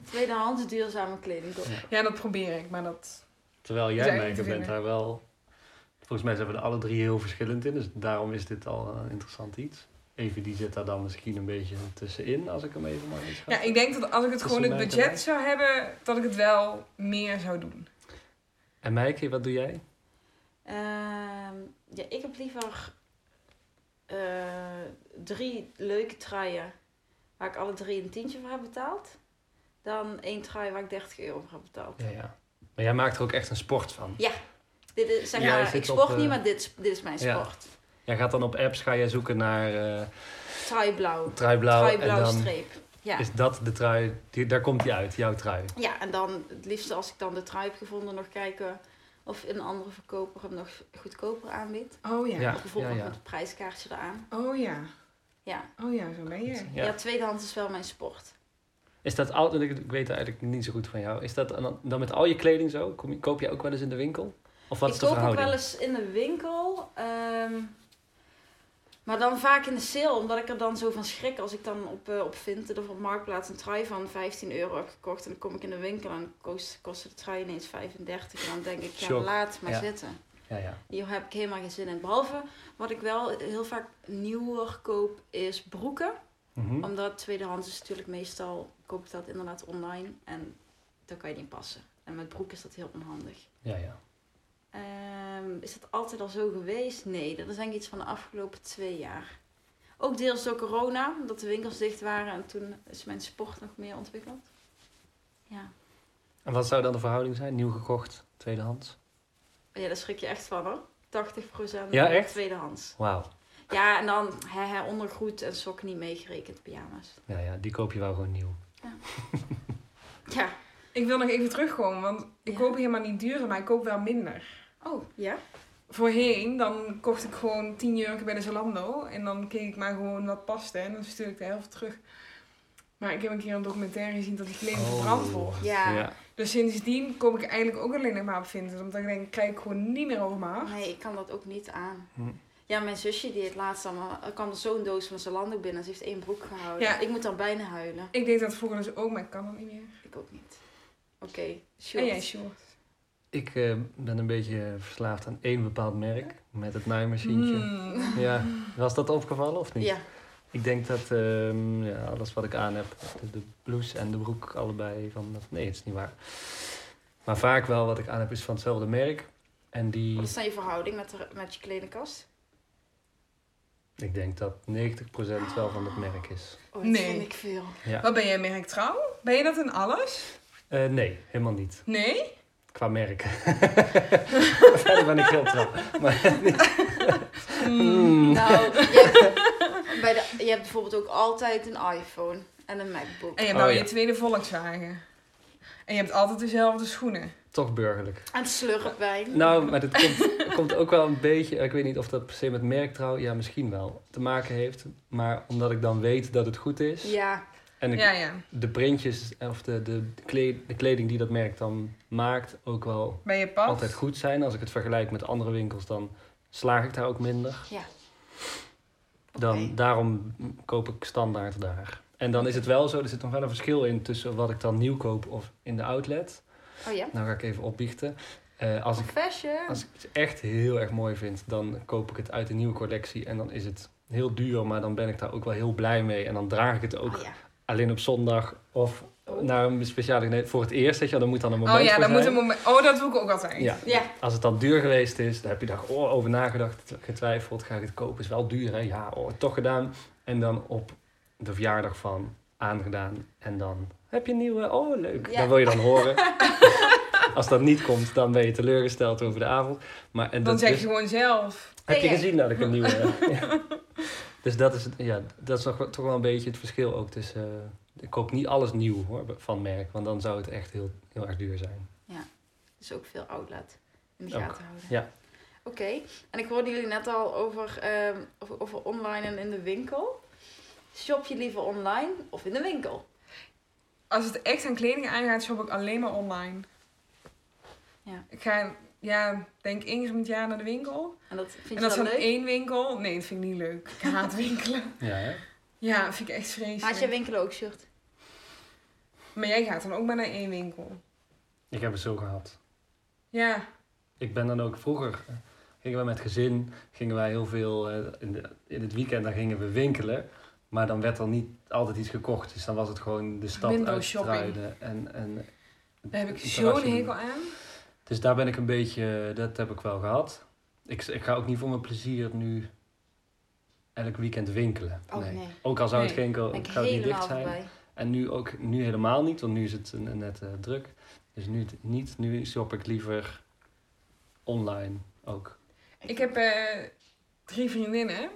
[SPEAKER 3] Tweedehands duurzame kleding. kopen.
[SPEAKER 2] Ja, dat probeer ik, maar dat...
[SPEAKER 1] Terwijl
[SPEAKER 2] Is
[SPEAKER 1] jij
[SPEAKER 2] eigenlijk
[SPEAKER 1] merkt,
[SPEAKER 2] te
[SPEAKER 1] bent
[SPEAKER 2] vinden.
[SPEAKER 1] daar wel... Volgens mij zijn we er alle drie heel verschillend in. Dus daarom is dit al een interessant iets. Even die zit daar dan misschien een beetje tussenin, als ik hem even mag inschat.
[SPEAKER 2] Ja, ik denk dat als ik het
[SPEAKER 1] Tussen
[SPEAKER 2] gewoon het
[SPEAKER 1] mij en
[SPEAKER 2] budget
[SPEAKER 1] mij.
[SPEAKER 2] zou hebben, dat ik het wel meer zou doen.
[SPEAKER 1] En Mijke, wat doe jij?
[SPEAKER 3] Ehm, ja, ik heb liever eh, drie leuke truien waar ik alle drie een tientje voor heb betaald. Dan één trui waar ik 30 euro voor heb betaald.
[SPEAKER 1] Ja, ja. Maar jij maakt er ook echt een sport van.
[SPEAKER 3] Dit is, zeg
[SPEAKER 1] Jij
[SPEAKER 3] maar,
[SPEAKER 1] zit
[SPEAKER 3] ik
[SPEAKER 1] op,
[SPEAKER 3] sport
[SPEAKER 1] eh,
[SPEAKER 3] niet, maar dit is, dit is mijn
[SPEAKER 1] Ja.
[SPEAKER 3] sport.
[SPEAKER 1] Jij gaat dan op apps ga jij zoeken naar eh
[SPEAKER 3] Trui blauw.
[SPEAKER 1] trui blauw.
[SPEAKER 3] Trui blauw
[SPEAKER 1] en dan
[SPEAKER 3] streep. Ja.
[SPEAKER 1] is dat de trui, die, daar komt die uit, jouw trui.
[SPEAKER 3] ja, en dan het liefst als ik dan de trui heb gevonden, nog kijken of een andere verkoper hem nog goedkoper aanbiedt.
[SPEAKER 2] Oh ja.
[SPEAKER 1] Ja.
[SPEAKER 3] of bijvoorbeeld
[SPEAKER 1] ja, ja.
[SPEAKER 3] met een prijskaartje eraan.
[SPEAKER 2] Oh ja.
[SPEAKER 3] Ja.
[SPEAKER 2] Oh ja, zo ben je.
[SPEAKER 3] Ja.
[SPEAKER 1] Ja.
[SPEAKER 3] tweedehands is wel mijn sport.
[SPEAKER 1] Is dat altijd, ik ik weet eigenlijk niet zo goed van jou. Is dat dan- dan met al je kleding zo? Kom je, koop je ook wel eens in de winkel? Of wat
[SPEAKER 3] ik
[SPEAKER 1] is de
[SPEAKER 3] koop ook
[SPEAKER 1] verhouding?
[SPEAKER 3] wel eens in de winkel. ehm, maar dan vaak in de sale, omdat ik er dan zo van schrik als ik dan op, eh op Vinted of op Marktplaats een trui van 15 euro heb gekocht. En dan kom ik in de winkel en kost, kostte de trui ineens 35. En dan denk ik, ja,
[SPEAKER 1] Shock.
[SPEAKER 3] laat maar
[SPEAKER 1] Ja.
[SPEAKER 3] zitten.
[SPEAKER 1] Ja, ja.
[SPEAKER 3] Hier heb ik helemaal geen zin in. Behalve wat ik wel heel vaak nieuwer koop is broeken.
[SPEAKER 1] Mhm.
[SPEAKER 3] Omdat tweedehands is natuurlijk meestal, koop ik dat inderdaad online. En daar kan je niet in passen. En met broek is dat heel onhandig.
[SPEAKER 1] Ja, ja.
[SPEAKER 3] Ehm, is dat altijd al zo geweest? Nee, dat is denk ik iets van de afgelopen twee jaar. Ook deels door corona, omdat de winkels dicht waren en toen is mijn sport nog meer ontwikkeld. Ja,
[SPEAKER 1] En wat zou dan de verhouding zijn? Nieuw gekocht, tweedehands?
[SPEAKER 3] Oh ja daar schrik je echt van hoor. 80%
[SPEAKER 1] Ja, echt?
[SPEAKER 3] tweedehands.
[SPEAKER 1] Wauw.
[SPEAKER 3] Ja, en dan hè, hè, ondergoed en sokken niet meegerekend, pyjama's.
[SPEAKER 1] Ja, ja, die koop je wel gewoon nieuw.
[SPEAKER 3] Ja.
[SPEAKER 2] Ik wil nog even terugkomen, want ik
[SPEAKER 3] Ja.
[SPEAKER 2] koop helemaal niet duurder, maar ik koop wel minder.
[SPEAKER 3] Oh, ja?
[SPEAKER 2] Voorheen, dan kocht ik gewoon 10 jurken bij de Zalando. En dan keek ik maar gewoon wat paste en dan stuurde ik de helft terug. Maar ik heb een keer een documentaire gezien dat die kleding verbrand wordt.
[SPEAKER 3] Ja.
[SPEAKER 2] Dus sindsdien kom ik eigenlijk ook alleen nog maar op Vinted. Omdat ik denk, kijk ik gewoon niet meer over mijn hart.
[SPEAKER 3] Nee, ik kan dat ook niet aan.
[SPEAKER 1] Hm.
[SPEAKER 3] Ja, mijn zusje die het laatst allemaal... Er kwam zo'n doos van Zalando binnen. Ze heeft één broek gehouden.
[SPEAKER 2] Ja.
[SPEAKER 3] Ik moet dan bijna huilen.
[SPEAKER 2] Ik deed dat vroeger dus ook, maar ik kan dat niet meer.
[SPEAKER 3] Ik ook niet. Oké,
[SPEAKER 2] En
[SPEAKER 3] sure.
[SPEAKER 2] jij, Oh Sjoerd?
[SPEAKER 1] Ik eh, ben een beetje verslaafd aan één bepaald merk met het naaimachientje.
[SPEAKER 2] Hmm.
[SPEAKER 1] Ja, was dat opgevallen of niet?
[SPEAKER 3] Ja.
[SPEAKER 1] Ik denk dat ehm, ja, alles wat ik aan heb, de, de blouse en de broek, allebei van. dat- Nee, het is niet waar. Maar vaak wel wat ik aan heb is van hetzelfde merk. En die,
[SPEAKER 3] Wat is dan je verhouding met, de- met je kledingkast?
[SPEAKER 1] ik denk dat 90% wel van het merk is.
[SPEAKER 3] Oh, dat
[SPEAKER 2] Nee.
[SPEAKER 3] vind ik veel.
[SPEAKER 1] Ja.
[SPEAKER 2] Wat ben jij merktrouw? Ben je dat in alles?
[SPEAKER 1] Eh, nee, helemaal niet.
[SPEAKER 2] Nee?
[SPEAKER 1] Qua merk. Verder ben ik heel trouw. Maar, Mm.
[SPEAKER 3] Nou, je hebt, bij de, je hebt bijvoorbeeld ook altijd een iPhone en een MacBook.
[SPEAKER 2] En je hebt
[SPEAKER 1] Oh,
[SPEAKER 2] nou
[SPEAKER 1] ja.
[SPEAKER 2] je tweede Volkswagen. En je hebt altijd dezelfde schoenen.
[SPEAKER 1] toch burgerlijk.
[SPEAKER 3] En slurpwijn.
[SPEAKER 1] Nou, maar dat komt, komt ook wel een beetje. Ik weet niet of dat per se met merktrouw, ja, misschien wel te maken heeft. Maar omdat ik dan weet dat het goed is.
[SPEAKER 3] Ja,
[SPEAKER 1] En ik
[SPEAKER 2] Ja, ja.
[SPEAKER 1] de printjes eh, of de, de, de kleed- de kleding die dat merk dan maakt ook wel
[SPEAKER 2] Ben je pas?
[SPEAKER 1] altijd goed zijn. Als ik het vergelijk met andere winkels, dan slaag ik daar ook minder.
[SPEAKER 3] ja.
[SPEAKER 1] Dan,
[SPEAKER 3] Oké.
[SPEAKER 1] Daarom koop ik standaard daar. En dan is het wel zo, er zit nog wel een verschil in tussen wat ik dan nieuw koop of in de outlet.
[SPEAKER 3] Oh ja?
[SPEAKER 1] Nou ga ik even opbiechten. Eh, als ik
[SPEAKER 3] Fashion.
[SPEAKER 1] Als ik het echt heel erg mooi vind, dan koop ik het uit de nieuwe collectie. En dan is het heel duur, maar dan ben ik daar ook wel heel blij mee. En dan draag ik het ook
[SPEAKER 2] Ah,
[SPEAKER 3] Oh ja.
[SPEAKER 1] alleen op zondag of
[SPEAKER 3] Oh.
[SPEAKER 1] naar een speciale... gelegenheid. voor het eerst, weet je wel, dan moet dan een moment
[SPEAKER 2] Oh ja,
[SPEAKER 1] voor
[SPEAKER 2] dat moet
[SPEAKER 1] zijn.
[SPEAKER 2] een moment. Oh, dat doe ik ook altijd.
[SPEAKER 1] Ja.
[SPEAKER 3] Ja.
[SPEAKER 1] Als het dan duur geweest is, dan heb je daar oh, over nagedacht, getwijfeld. Ga ik het kopen? Is wel duur, hè? Ja, oh, toch gedaan. En dan op de verjaardag van aangedaan. En dan heb je een nieuwe. Oh, leuk.
[SPEAKER 3] Ja.
[SPEAKER 1] Dat wil je dan horen. Als dat niet komt, dan ben je teleurgesteld over de avond. Maar, en
[SPEAKER 2] Dan
[SPEAKER 1] dat dus-
[SPEAKER 2] zeg je
[SPEAKER 1] is-
[SPEAKER 2] gewoon zelf.
[SPEAKER 1] heb je
[SPEAKER 3] Ja.
[SPEAKER 1] gezien dat ik een nieuwe heb? Ja. Dus dat is, het- ja, dat is nog, wel- toch wel een beetje het verschil ook tussen... eh, ik koop niet alles nieuw hoor, van merk, want dan zou het echt heel, heel erg duur zijn.
[SPEAKER 3] Dus ook veel outlet in de
[SPEAKER 1] Ook,
[SPEAKER 3] gaten houden.
[SPEAKER 1] ja.
[SPEAKER 3] Oké, en ik hoorde jullie net al over, ehm, over, over online en in de winkel. Shop je liever online of in de winkel?
[SPEAKER 2] Als het echt aan kleding aangaat, shop ik alleen maar online.
[SPEAKER 3] Ja.
[SPEAKER 2] Ik ga, ja, denk één keer om het jaar naar de winkel.
[SPEAKER 3] En dat vind
[SPEAKER 2] En
[SPEAKER 3] je
[SPEAKER 2] dat is
[SPEAKER 3] dan
[SPEAKER 2] dan
[SPEAKER 3] leuk?
[SPEAKER 2] één winkel. Nee, dat vind ik niet leuk. Ik haat winkelen.
[SPEAKER 1] Ja, hè?
[SPEAKER 2] Ja, vind ik echt vreselijk.
[SPEAKER 3] Had je winkelen ook shirt?
[SPEAKER 2] Maar jij gaat dan ook maar naar één winkel.
[SPEAKER 1] Ik heb het zo gehad.
[SPEAKER 2] Ja.
[SPEAKER 1] Ik ben dan ook vroeger, eh, gingen wij met gezin, gingen wij heel veel, eh, in, de- in het weekend dan gingen we winkelen. Maar dan werd er niet altijd iets gekocht. Dus dan was het gewoon de stad
[SPEAKER 2] Window
[SPEAKER 1] uitstruiden. En, en
[SPEAKER 2] Daar heb ik
[SPEAKER 1] een
[SPEAKER 2] zo'n
[SPEAKER 1] terrasje doen.
[SPEAKER 2] hekel aan.
[SPEAKER 1] Dus daar ben ik een beetje, dat heb ik wel gehad. Ik, ik ga ook niet voor mijn plezier nu elk weekend winkelen.
[SPEAKER 3] Oh nee, Daar
[SPEAKER 1] Ook al zou het
[SPEAKER 2] Nee,
[SPEAKER 1] geen
[SPEAKER 3] ben
[SPEAKER 1] ik
[SPEAKER 3] ik
[SPEAKER 1] Oh, zou het niet dicht
[SPEAKER 3] helemaal
[SPEAKER 1] zijn.
[SPEAKER 3] voorbij.
[SPEAKER 1] En nu ook nu helemaal niet, want nu is het eh, net eh, druk. Dus nu het niet. Nu shop ik liever online ook.
[SPEAKER 2] Ik heb eh, drie vriendinnen.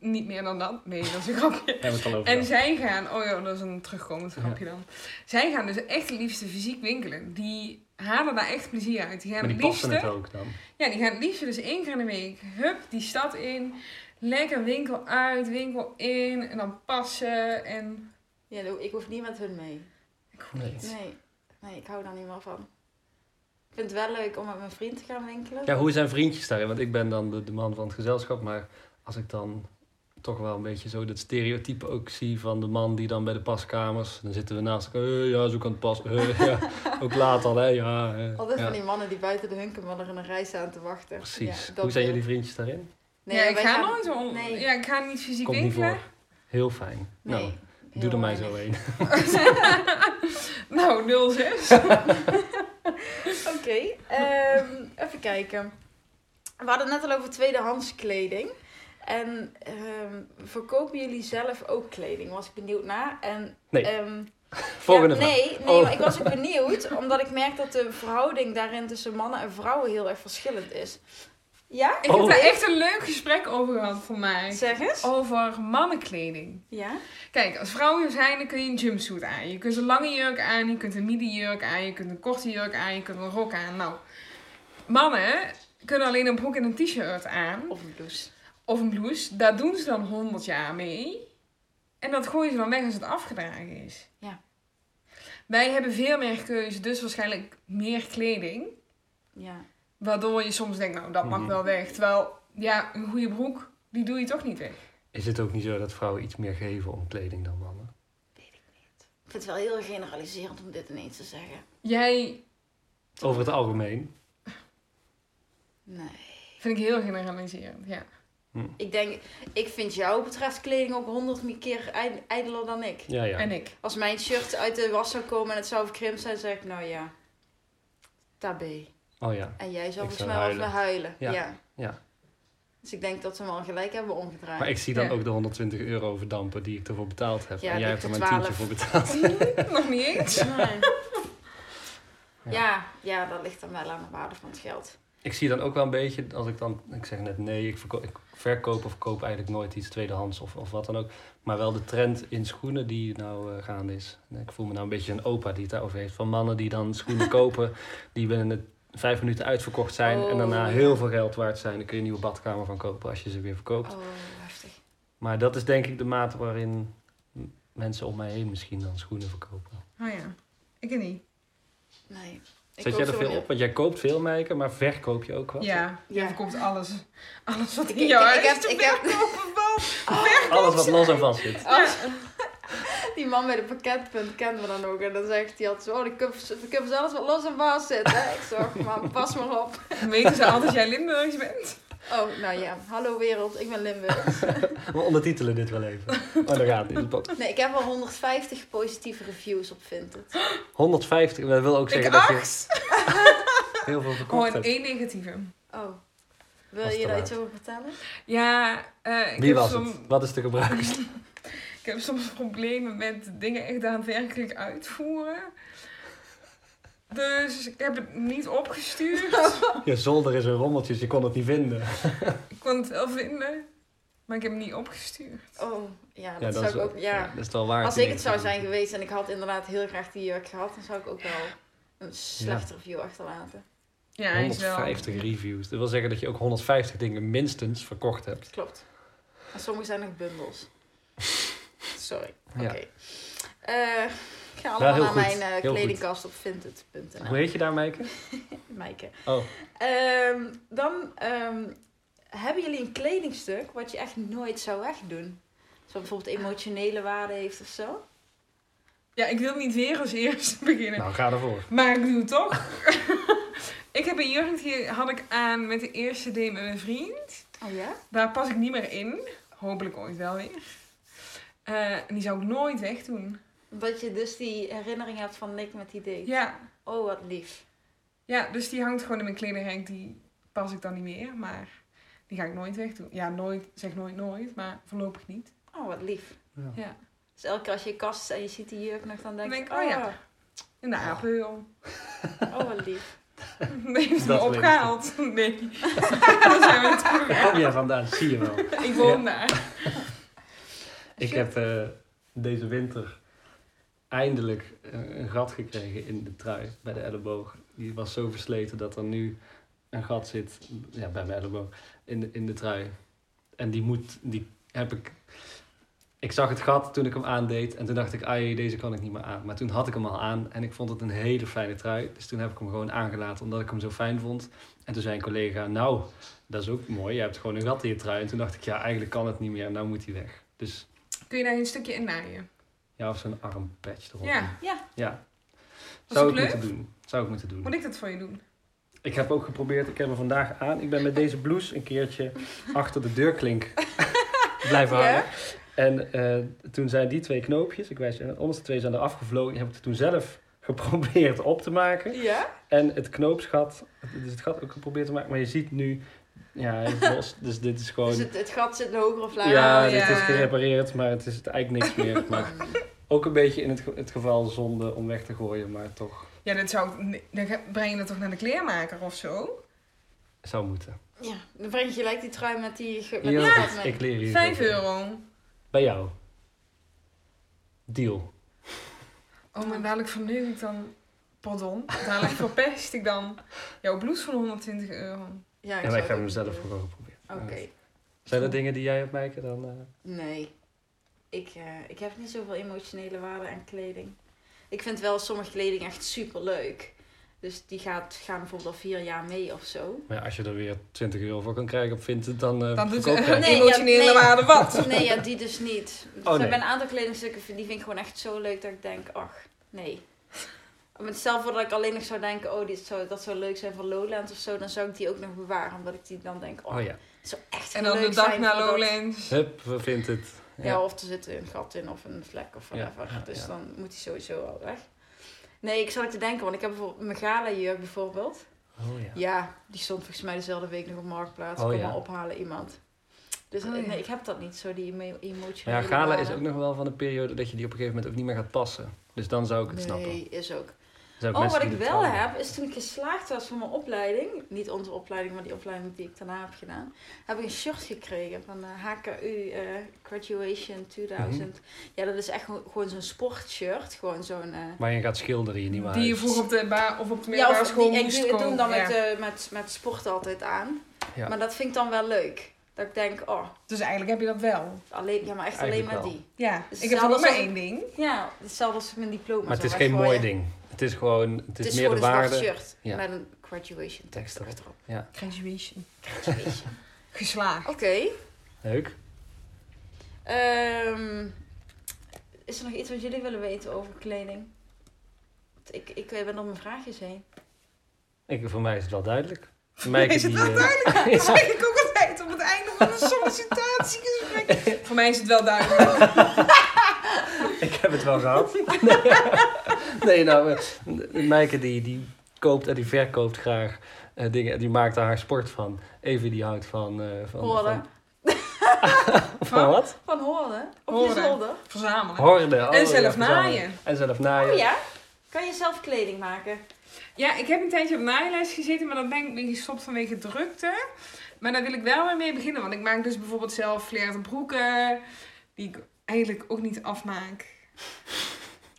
[SPEAKER 2] Niet meer dan dat. Nee, dat is een grapje.
[SPEAKER 1] Hebben we het al over
[SPEAKER 2] En
[SPEAKER 1] gehad.
[SPEAKER 2] zij gaan, oh ja, dat is een terugkomend
[SPEAKER 1] Ja.
[SPEAKER 2] grapje dan. Zij gaan dus echt het liefste fysiek winkelen. Die halen daar echt plezier uit. Die gaan
[SPEAKER 1] Maar die
[SPEAKER 2] het
[SPEAKER 1] passen het
[SPEAKER 2] liefste,
[SPEAKER 1] ook dan.
[SPEAKER 2] ja, die gaan het liefste dus één keer in de week. Hup, die stad in. Lekker winkel uit, winkel in. En dan passen. En
[SPEAKER 3] Ja, nou, ik hoef niet met hun mee.
[SPEAKER 2] ik hoor
[SPEAKER 1] Nee.
[SPEAKER 2] niet.
[SPEAKER 3] Nee, nee ik hou daar niet meer van. Ik vind het wel leuk om met mijn vriend te gaan winkelen.
[SPEAKER 1] Ja, hoe zijn vriendjes daarin? Want ik ben dan de, de man van het gezelschap, maar als ik dan toch wel een beetje zo dat stereotype ook zie van de man die dan bij de paskamers, dan zitten we naast elkaar, "Eh, ja, zo kan het pas, Eh, ja, ook laat al, hè, ja. eh,
[SPEAKER 3] Altijd
[SPEAKER 1] ja.
[SPEAKER 3] van die mannen die buiten de hunkerman er in een rij staan te wachten.
[SPEAKER 1] Precies.
[SPEAKER 3] Ja, dat
[SPEAKER 1] hoe zijn
[SPEAKER 3] wil-
[SPEAKER 1] jullie vriendjes daarin?
[SPEAKER 3] Nee,
[SPEAKER 2] ja, ik
[SPEAKER 3] wij
[SPEAKER 2] ga
[SPEAKER 3] gaan-
[SPEAKER 2] nooit om.
[SPEAKER 3] Nee.
[SPEAKER 2] Ja, ik ga niet fysiek
[SPEAKER 1] Komt niet
[SPEAKER 2] winkelen.
[SPEAKER 1] voor. Heel fijn.
[SPEAKER 3] Nee,
[SPEAKER 1] nou,
[SPEAKER 3] heel
[SPEAKER 1] doe er mij
[SPEAKER 3] weinig.
[SPEAKER 1] zo een.
[SPEAKER 2] Nou, 06.
[SPEAKER 3] Oké, ehm, even kijken. We hadden het net al over tweedehands kleding. En ehm, verkopen jullie zelf ook kleding? Was ik benieuwd naar. En,
[SPEAKER 1] Nee.
[SPEAKER 3] ehm,
[SPEAKER 1] Volgende
[SPEAKER 3] ja,
[SPEAKER 1] vraag.
[SPEAKER 3] Nee, nee
[SPEAKER 1] Oh.
[SPEAKER 3] maar ik was ook benieuwd, omdat ik merk dat de verhouding daarin tussen mannen en vrouwen heel erg verschillend is. Ja?
[SPEAKER 2] Ik heb
[SPEAKER 1] Oh.
[SPEAKER 2] daar echt een leuk gesprek over gehad voor mij.
[SPEAKER 3] Zeg eens.
[SPEAKER 2] Over mannenkleding.
[SPEAKER 3] Ja?
[SPEAKER 2] Kijk, als vrouwen zijn, dan kun je een jumpsuit aan. Je kunt een lange jurk aan, je kunt een midi-jurk aan, je kunt een korte jurk aan, je kunt een rok aan. Nou, mannen kunnen alleen een broek en een t-shirt aan.
[SPEAKER 3] Of een blouse.
[SPEAKER 2] Of een blouse. Daar doen ze dan 100 jaar mee. En dat gooien ze dan weg als het afgedragen is.
[SPEAKER 3] Ja.
[SPEAKER 2] Wij hebben veel meer keuze, dus waarschijnlijk meer kleding.
[SPEAKER 3] Ja.
[SPEAKER 2] Waardoor je soms denkt, nou, dat mag
[SPEAKER 1] Mhm.
[SPEAKER 2] wel weg. Terwijl, ja, een goede broek, die doe je toch niet weg.
[SPEAKER 1] Is het ook niet zo dat vrouwen iets meer geven om kleding dan mannen?
[SPEAKER 3] Ik vind het wel heel generaliserend om dit ineens te zeggen.
[SPEAKER 2] Jij
[SPEAKER 1] Over het algemeen.
[SPEAKER 3] Nee.
[SPEAKER 2] vind ik heel generaliserend, ja.
[SPEAKER 3] Ik denk, ik vind jou betreft kleding ook honderd keer ij- ijdeler dan ik.
[SPEAKER 1] Ja, ja.
[SPEAKER 2] En ik.
[SPEAKER 3] Als mijn shirt uit de was zou komen en het zou verkrimpt zijn, zeg ik, nou ja, tabé.
[SPEAKER 1] Oh ja.
[SPEAKER 3] En jij zou
[SPEAKER 1] Ik
[SPEAKER 3] volgens
[SPEAKER 1] zou
[SPEAKER 3] mij wel
[SPEAKER 1] huilen.
[SPEAKER 3] weer huilen. Ja.
[SPEAKER 1] Ja, ja.
[SPEAKER 3] Dus ik denk dat ze hem al gelijk hebben omgedraaid.
[SPEAKER 1] Maar ik zie dan
[SPEAKER 2] Ja.
[SPEAKER 1] ook de 120 euro verdampen die ik ervoor betaald heb.
[SPEAKER 3] Ja,
[SPEAKER 1] en
[SPEAKER 3] die
[SPEAKER 1] jij hebt er
[SPEAKER 3] voor
[SPEAKER 1] maar een tientje
[SPEAKER 3] 12.
[SPEAKER 1] voor betaald.
[SPEAKER 2] Nog niet eens.
[SPEAKER 3] Nee. Ja, ja, dat ligt dan wel aan de waarde van het geld.
[SPEAKER 1] Ik zie dan ook wel een beetje, als ik dan, ik zeg net nee, ik, verko- ik verkoop of koop eigenlijk nooit iets tweedehands of, of wat dan ook. Maar wel de trend in schoenen die nou eh, gaande is. En Ik voel me nou een beetje een opa die het daarover heeft. Van mannen die dan schoenen kopen, die binnen het vijf minuten uitverkocht zijn en
[SPEAKER 3] Oh,
[SPEAKER 1] daarna
[SPEAKER 3] ja.
[SPEAKER 1] heel veel geld waard zijn. Dan kun je een nieuwe badkamer van kopen als je ze weer verkoopt.
[SPEAKER 3] Oh, heftig.
[SPEAKER 1] Maar dat is denk ik de mate waarin m- mensen om mij heen misschien dan schoenen verkopen.
[SPEAKER 2] Oh ja, ik niet.
[SPEAKER 3] Nee. Ik
[SPEAKER 1] Zet
[SPEAKER 3] koop
[SPEAKER 1] jij er
[SPEAKER 3] zo
[SPEAKER 1] veel
[SPEAKER 3] niet.
[SPEAKER 1] op? Want jij koopt veel, Meike, maar verkoop je ook wat?
[SPEAKER 2] Ja,
[SPEAKER 3] Ja.
[SPEAKER 2] jij verkoopt alles. Alles wat ik
[SPEAKER 3] Ik-
[SPEAKER 2] in jouw
[SPEAKER 3] ik- ik
[SPEAKER 2] huis
[SPEAKER 3] heb-
[SPEAKER 2] te
[SPEAKER 3] ik heb- Oh.
[SPEAKER 2] verkopen valt.
[SPEAKER 1] Alles wat los en vast zit.
[SPEAKER 3] Als- die man bij de pakketpunt kent me dan ook. En dan zegt hij altijd zo, oh, de cups, de cups alles wat los en vast zit. Hè? Ik zorg, man, pas maar op.
[SPEAKER 2] Weten ze altijd dat jij Limburgs bent?
[SPEAKER 3] Oh, nou ja, hallo wereld, ik ben Limburg.
[SPEAKER 1] We ondertitelen dit wel even. Maar dat gaat niet.
[SPEAKER 3] Nee, ik heb al 150 positieve reviews op Vinted.
[SPEAKER 1] 150, dat wil ook
[SPEAKER 2] Ik
[SPEAKER 1] zeggen dat je
[SPEAKER 2] acht.
[SPEAKER 1] heel veel verkocht
[SPEAKER 2] Oh, en
[SPEAKER 1] hebt.
[SPEAKER 2] één negatieve.
[SPEAKER 3] Oh,
[SPEAKER 1] Was
[SPEAKER 3] wil
[SPEAKER 1] te
[SPEAKER 3] je daar
[SPEAKER 1] laat.
[SPEAKER 3] iets over vertellen?
[SPEAKER 2] Ja, eh, ik,
[SPEAKER 1] Wie
[SPEAKER 2] heb
[SPEAKER 1] was
[SPEAKER 2] som-
[SPEAKER 1] het? Wat is de gebruiker?
[SPEAKER 2] ik heb soms problemen met dingen echt daadwerkelijk uitvoeren. Dus ik heb het niet opgestuurd.
[SPEAKER 1] Je zolder is een rommeltje, dus je kon het niet vinden.
[SPEAKER 2] Ik kon het wel vinden, maar ik heb hem niet opgestuurd.
[SPEAKER 3] Oh, ja, dat, zou
[SPEAKER 1] is-
[SPEAKER 3] ik ook... ja.
[SPEAKER 1] dat is wel waar.
[SPEAKER 3] Als ik het zou zijn geweest en ik had inderdaad heel graag die jurk gehad, dan zou ik ook wel een slecht review achterlaten.
[SPEAKER 2] Ja, hij is wel.
[SPEAKER 1] 150 reviews. Dat wil zeggen dat je ook 150 dingen minstens verkocht hebt.
[SPEAKER 3] Klopt. En sommige zijn nog bundels. Sorry. Oké.
[SPEAKER 1] Ja.
[SPEAKER 3] Eh, ik ga
[SPEAKER 1] Wel
[SPEAKER 3] allemaal
[SPEAKER 1] heel
[SPEAKER 3] naar
[SPEAKER 1] goed.
[SPEAKER 3] mijn eh,
[SPEAKER 1] Heel goed.
[SPEAKER 3] kledingkast op
[SPEAKER 1] Hoe
[SPEAKER 3] vinted.nl.
[SPEAKER 1] heet je daar, Meike?
[SPEAKER 3] Maaike.
[SPEAKER 1] Oh,
[SPEAKER 3] Ehm, dan ehm, hebben jullie een kledingstuk wat je echt nooit zou wegdoen. Zo bijvoorbeeld emotionele waarde heeft of zo.
[SPEAKER 2] Ja, ik wil niet weer als eerste beginnen.
[SPEAKER 1] nou ga ervoor.
[SPEAKER 2] Maar ik doe het toch. ik heb een jurk die had ik aan met de eerste date met mijn vriend.
[SPEAKER 3] Oh ja?
[SPEAKER 2] Daar pas ik niet meer in. Hopelijk ooit wel weer. Eh, en die zou ik nooit wegdoen.
[SPEAKER 3] Omdat je dus die herinnering hebt van Nick met die date.
[SPEAKER 2] Ja.
[SPEAKER 3] Oh, wat lief.
[SPEAKER 2] ja, dus die hangt gewoon in mijn kledingrek. Die pas ik dan niet meer, maar die ga ik nooit wegdoen. Ja, nooit, zeg nooit nooit, maar voorlopig niet.
[SPEAKER 3] Oh, wat lief.
[SPEAKER 2] Ja.
[SPEAKER 3] Dus elke keer als je kast en je ziet die jurk nog, dan denk
[SPEAKER 2] Dan
[SPEAKER 3] je,
[SPEAKER 2] denk ik, oh ja. In de apenhul.
[SPEAKER 3] oh, oh, wat lief.
[SPEAKER 2] Die heeft me
[SPEAKER 1] Dat
[SPEAKER 2] opgehaald. Nee. Dan zijn we terug.
[SPEAKER 1] Waar kom jij vandaan? Zie je wel.
[SPEAKER 2] Ik woon daar.
[SPEAKER 1] Ik heb eh, deze winter eindelijk eh, een gat gekregen in de trui bij de elleboog. Die was zo versleten dat er nu een gat zit ja, bij mijn elleboog in de, in de trui. En die moet, die heb ik. Ik zag het gat toen ik hem aandeed en toen dacht ik, ai, deze kan ik niet meer aan. Maar toen had ik hem al aan en ik vond het een hele fijne trui. Dus toen heb ik hem gewoon aangelaten omdat ik hem zo fijn vond. En toen zei een collega, nou, dat is ook mooi, je hebt gewoon een gat in je trui. En toen dacht ik, ja, eigenlijk kan het niet meer, nou moet hij weg. Dus
[SPEAKER 2] Kun je daar een stukje in naaien?
[SPEAKER 1] ja, of zo'n armpatch erop.
[SPEAKER 2] Ja.
[SPEAKER 3] Ja,
[SPEAKER 1] ja.
[SPEAKER 2] Was
[SPEAKER 1] Zou
[SPEAKER 2] het
[SPEAKER 1] ik
[SPEAKER 2] leuk?
[SPEAKER 1] moeten doen. Zou ik moeten doen.
[SPEAKER 2] Moet ik dat voor je doen?
[SPEAKER 1] Ik heb ook geprobeerd, ik heb hem vandaag aan. Ik ben met deze blouse een keertje achter de deurklink blijven
[SPEAKER 3] Ja?
[SPEAKER 1] hangen. En eh, toen zijn die twee knoopjes, ik wijs, en de onderste twee zijn er afgevlogen. Die heb ik er toen zelf geprobeerd op te maken.
[SPEAKER 3] Ja?
[SPEAKER 1] En het knoopsgat, dus het gat ook geprobeerd te maken. Maar je ziet nu, ja, hij is los. Dus dit is gewoon...
[SPEAKER 3] Dus het, het gat zit hoger of lager.
[SPEAKER 1] ja,
[SPEAKER 2] ja.
[SPEAKER 1] dit is gerepareerd, maar het is het eigenlijk niks meer. Maar ook een beetje in het, ge- het geval zonde om weg te gooien, maar toch
[SPEAKER 2] Ja, dat zou, nee, dan ga- breng je dat toch naar de kleermaker of zo?
[SPEAKER 1] zou moeten.
[SPEAKER 3] Ja, dan breng je gelijk die trui met die... ge- Met
[SPEAKER 1] Heel
[SPEAKER 3] die gat
[SPEAKER 1] goed,
[SPEAKER 3] mee.
[SPEAKER 1] ik leer hier.
[SPEAKER 2] Vijf
[SPEAKER 1] zoveel.
[SPEAKER 2] euro.
[SPEAKER 1] Bij jou. Deal.
[SPEAKER 2] Oh, maar dadelijk verneuk ik dan... Pardon, dadelijk verpest ik dan jouw blouse van 120 euro.
[SPEAKER 3] Ja,
[SPEAKER 1] En
[SPEAKER 3] zou
[SPEAKER 1] ik ga
[SPEAKER 3] het
[SPEAKER 1] hem zelf
[SPEAKER 3] ook doen.
[SPEAKER 1] gewoon proberen.
[SPEAKER 3] Oké.
[SPEAKER 1] Zijn er dingen die jij hebt, Maaike? Dan, eh,
[SPEAKER 3] Nee. Ik, eh, ik heb niet zoveel emotionele waarde aan kleding. Ik vind wel sommige kleding echt super leuk. Dus die gaat, gaan bijvoorbeeld al vier jaar mee of zo.
[SPEAKER 1] maar ja, als je er weer 20 euro voor kan krijgen op Vinted, dan, eh
[SPEAKER 2] Dan doet
[SPEAKER 1] verkoop je
[SPEAKER 2] de
[SPEAKER 1] het.
[SPEAKER 3] Nee, ja,
[SPEAKER 2] emotionele
[SPEAKER 3] nee.
[SPEAKER 2] waarde wat.
[SPEAKER 3] Nee, ja, die dus niet. Dus
[SPEAKER 1] Oh,
[SPEAKER 3] er
[SPEAKER 1] nee.
[SPEAKER 3] zijn een aantal kledingstukken die vind ik gewoon echt zo leuk dat ik denk, ach, nee. Met stel voor dat ik alleen nog zou denken, oh, dit zou, dat zou leuk zijn voor Lowlands of zo, dan zou ik die ook nog bewaren. Omdat ik die dan denk, oh,
[SPEAKER 1] Oh ja,
[SPEAKER 3] het zou echt
[SPEAKER 2] En
[SPEAKER 3] heel
[SPEAKER 2] dan de
[SPEAKER 3] leuk
[SPEAKER 2] dag
[SPEAKER 3] zijn
[SPEAKER 2] na
[SPEAKER 3] voor dat-
[SPEAKER 2] Lowlands.
[SPEAKER 1] hup, we Vinted.
[SPEAKER 3] Ja. of er zit een gat in of een vlek of
[SPEAKER 1] Ja,
[SPEAKER 3] whatever.
[SPEAKER 1] ja,
[SPEAKER 3] dus
[SPEAKER 1] ja.
[SPEAKER 3] dan moet die sowieso al weg. Nee, ik zat te denken, want ik heb bijvoorbeeld mijn gala-jurk bijvoorbeeld.
[SPEAKER 1] Oh ja.
[SPEAKER 3] Ja. die stond volgens mij dezelfde week nog op Marktplaats.
[SPEAKER 1] Oh,
[SPEAKER 3] Kom
[SPEAKER 1] ja.
[SPEAKER 3] maar ophalen iemand. Dus
[SPEAKER 2] Oh,
[SPEAKER 3] eh,
[SPEAKER 2] ja.
[SPEAKER 3] nee, ik heb dat niet, zo die emo- emotionele
[SPEAKER 1] Maar ja, gala is
[SPEAKER 3] waarde.
[SPEAKER 1] ook nog wel van een periode dat je die op een gegeven moment ook niet meer gaat passen. Dus dan zou ik het
[SPEAKER 3] Nee,
[SPEAKER 1] snappen.
[SPEAKER 3] is ook.
[SPEAKER 1] Er zijn ook
[SPEAKER 3] Oh,
[SPEAKER 1] mensen
[SPEAKER 3] wat ik
[SPEAKER 1] die
[SPEAKER 3] wel
[SPEAKER 1] dat houden.
[SPEAKER 3] heb, is toen ik geslaagd was voor mijn opleiding. Niet onze opleiding, maar die opleiding die ik daarna heb gedaan. Heb ik een shirt gekregen van de HKU eh, Graduation 2000.
[SPEAKER 1] Mhm.
[SPEAKER 3] Ja, dat is echt gewoon gewoon zo'n sportshirt. Gewoon zo'n... eh,
[SPEAKER 1] Maar je gaat schilderen, je niet meer
[SPEAKER 2] Die je
[SPEAKER 1] uit.
[SPEAKER 2] vroeger op de, ba- of op de
[SPEAKER 3] Ja,
[SPEAKER 2] middelbare
[SPEAKER 3] of
[SPEAKER 2] school
[SPEAKER 3] die, ik,
[SPEAKER 2] moest
[SPEAKER 3] doe- ik doe hem
[SPEAKER 2] kopen.
[SPEAKER 3] dan
[SPEAKER 2] Ja.
[SPEAKER 3] met, eh, met, met sport altijd aan.
[SPEAKER 1] Ja.
[SPEAKER 3] Maar dat vind ik dan wel leuk. Dat ik denk, oh,
[SPEAKER 2] Dus eigenlijk heb je dat wel.
[SPEAKER 3] alleen, ja, maar echt alleen
[SPEAKER 1] Eigenlijk
[SPEAKER 3] maar
[SPEAKER 1] wel.
[SPEAKER 3] die.
[SPEAKER 2] Ja,
[SPEAKER 3] Dus
[SPEAKER 2] ik heb
[SPEAKER 3] zelfs
[SPEAKER 2] ook maar
[SPEAKER 3] als-
[SPEAKER 2] één ding.
[SPEAKER 3] Ja, hetzelfde als mijn diploma.
[SPEAKER 1] Maar het
[SPEAKER 3] zo
[SPEAKER 1] is geen mooi
[SPEAKER 3] weggooien.
[SPEAKER 1] ding. Het is gewoon, het is,
[SPEAKER 3] Het is
[SPEAKER 1] meer
[SPEAKER 3] gewoon
[SPEAKER 1] de
[SPEAKER 3] een zwart
[SPEAKER 1] waarde.
[SPEAKER 3] shirt
[SPEAKER 1] Ja.
[SPEAKER 3] met een graduation tekst
[SPEAKER 1] Tekst erop.
[SPEAKER 3] erop.
[SPEAKER 2] Graduation.
[SPEAKER 3] Graduation.
[SPEAKER 2] Geslaagd.
[SPEAKER 3] Oké.
[SPEAKER 1] Leuk.
[SPEAKER 3] Ehm, is er nog iets wat jullie willen weten over kleding? Want Ik, ik eh, ben door mijn vraagjes heen.
[SPEAKER 1] Ik, voor mij is het wel duidelijk. Maaike
[SPEAKER 2] is het
[SPEAKER 1] die,
[SPEAKER 2] wel
[SPEAKER 1] eh,
[SPEAKER 2] duidelijk?
[SPEAKER 1] ja.
[SPEAKER 2] Dat zeg ik ook altijd op het einde van een sollicitatiegesprek. Voor mij is het wel duidelijk.
[SPEAKER 1] Ik heb het wel gehad. nee, nou, eh, Maaike die, die koopt en die verkoopt graag eh, dingen. En die maakt daar haar sport van. Even die houdt van... eh van
[SPEAKER 3] Horden.
[SPEAKER 1] Van, van wat?
[SPEAKER 3] Van horen? Op je
[SPEAKER 2] Horden.
[SPEAKER 3] zolder?
[SPEAKER 2] Verzamelen.
[SPEAKER 1] Horden. oh,
[SPEAKER 2] en zelf
[SPEAKER 1] ja,
[SPEAKER 2] naaien.
[SPEAKER 1] En zelf naaien.
[SPEAKER 3] Oh ja? Kan je zelf kleding maken?
[SPEAKER 2] Ja, ik heb een tijdje op naailes gezeten, maar dat ben ik een beetje gestopt vanwege drukte. Maar daar wil ik wel weer mee beginnen, want ik maak dus bijvoorbeeld zelf flairte broeken, die ik eigenlijk ook niet afmaak.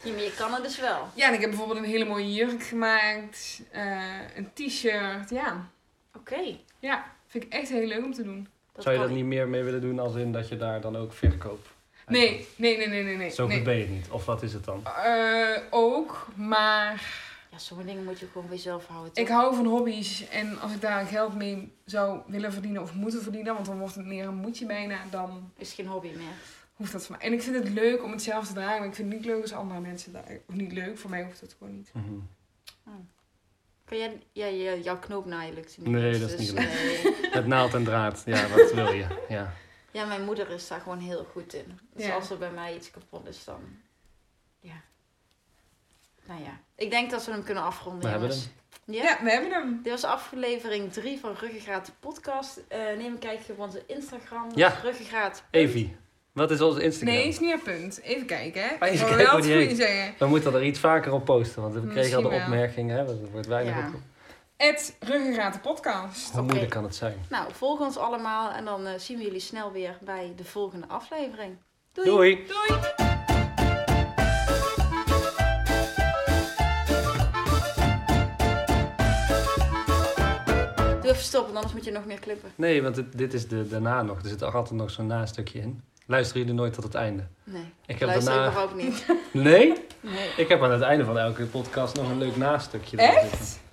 [SPEAKER 3] Ja, maar je kan het dus wel.
[SPEAKER 2] Ja, en ik heb bijvoorbeeld een hele mooie jurk gemaakt, eh, een t-shirt, ja.
[SPEAKER 3] Oké.
[SPEAKER 2] Ja, vind ik echt heel leuk om te doen.
[SPEAKER 1] Zou je
[SPEAKER 3] kan
[SPEAKER 1] dat niet meer mee willen doen als in dat je daar dan ook verkoopt?
[SPEAKER 2] Nee, nee, nee, nee, nee. nee.
[SPEAKER 1] Zo goed
[SPEAKER 2] nee.
[SPEAKER 1] ben je het niet. Of wat is het dan?
[SPEAKER 2] Eh, ook, maar
[SPEAKER 3] Ja, sommige dingen moet je gewoon bij jezelf houden.
[SPEAKER 2] ik
[SPEAKER 3] toch?
[SPEAKER 2] hou van hobby's. En als ik daar geld mee zou willen verdienen of moeten verdienen, want dan wordt het meer een moetje bijna, dan
[SPEAKER 3] Is geen hobby meer.
[SPEAKER 2] hoeft dat voor mij. En ik vind het leuk om het zelf te dragen, maar ik vind het niet leuk als andere mensen daar. Of niet leuk, voor mij hoeft dat gewoon niet.
[SPEAKER 1] Mhm.
[SPEAKER 3] Kan jij, ja, ja, jouw knoopnaaien lukt niet.
[SPEAKER 1] Nee,
[SPEAKER 3] eens,
[SPEAKER 1] dat is
[SPEAKER 3] dus,
[SPEAKER 1] niet leuk.
[SPEAKER 3] nee.
[SPEAKER 1] Met naald en draad. Ja, wat wil je? Ja.
[SPEAKER 3] Ja, mijn moeder is daar gewoon heel goed in. Dus
[SPEAKER 2] Ja.
[SPEAKER 3] als er bij mij iets kapot is, dan... Ja. Nou ja. Ik denk dat we hem kunnen afronden,
[SPEAKER 1] We hebben
[SPEAKER 3] jongens. Ja?
[SPEAKER 2] Ja, we hebben hem.
[SPEAKER 3] Dit was aflevering 3 van Ruggengraat de podcast. Eh, neem een kijkje op onze Instagram. Dat
[SPEAKER 1] Ja.
[SPEAKER 3] is Ruggengraat.
[SPEAKER 1] Evie, wat is onze Instagram?
[SPEAKER 2] Nee, is niet een punt. Even kijken, hè.
[SPEAKER 1] Maar
[SPEAKER 2] Ik
[SPEAKER 1] even
[SPEAKER 2] wil
[SPEAKER 1] kijken
[SPEAKER 2] wel
[SPEAKER 1] hoe
[SPEAKER 2] het
[SPEAKER 1] die
[SPEAKER 2] goede zeggen.
[SPEAKER 1] We moeten er iets vaker op posten, want we kregen al de
[SPEAKER 2] Misschien wel.
[SPEAKER 1] opmerking. Hè? Er wordt weinig
[SPEAKER 2] Ja.
[SPEAKER 1] op.
[SPEAKER 2] Het Ruggengraat de podcast.
[SPEAKER 1] Hoe moeilijk kan het zijn?
[SPEAKER 3] Nou, volg ons allemaal en dan eh, zien we jullie snel weer bij de volgende aflevering. Doei!
[SPEAKER 1] Doei.
[SPEAKER 2] Doei!
[SPEAKER 3] Doe even stoppen, anders moet je nog meer klippen.
[SPEAKER 1] Nee, want dit, dit is de, daarna nog. Er zit toch altijd nog zo'n nastukje in. Luisteren jullie nooit tot het einde?
[SPEAKER 3] Nee,
[SPEAKER 1] Ik heb
[SPEAKER 3] luister
[SPEAKER 1] daarna...
[SPEAKER 3] überhaupt niet.
[SPEAKER 1] Nee?
[SPEAKER 3] Nee.
[SPEAKER 1] Ik heb aan het einde van elke podcast nog een leuk nastukje.
[SPEAKER 2] Echt?
[SPEAKER 1] erin zitten.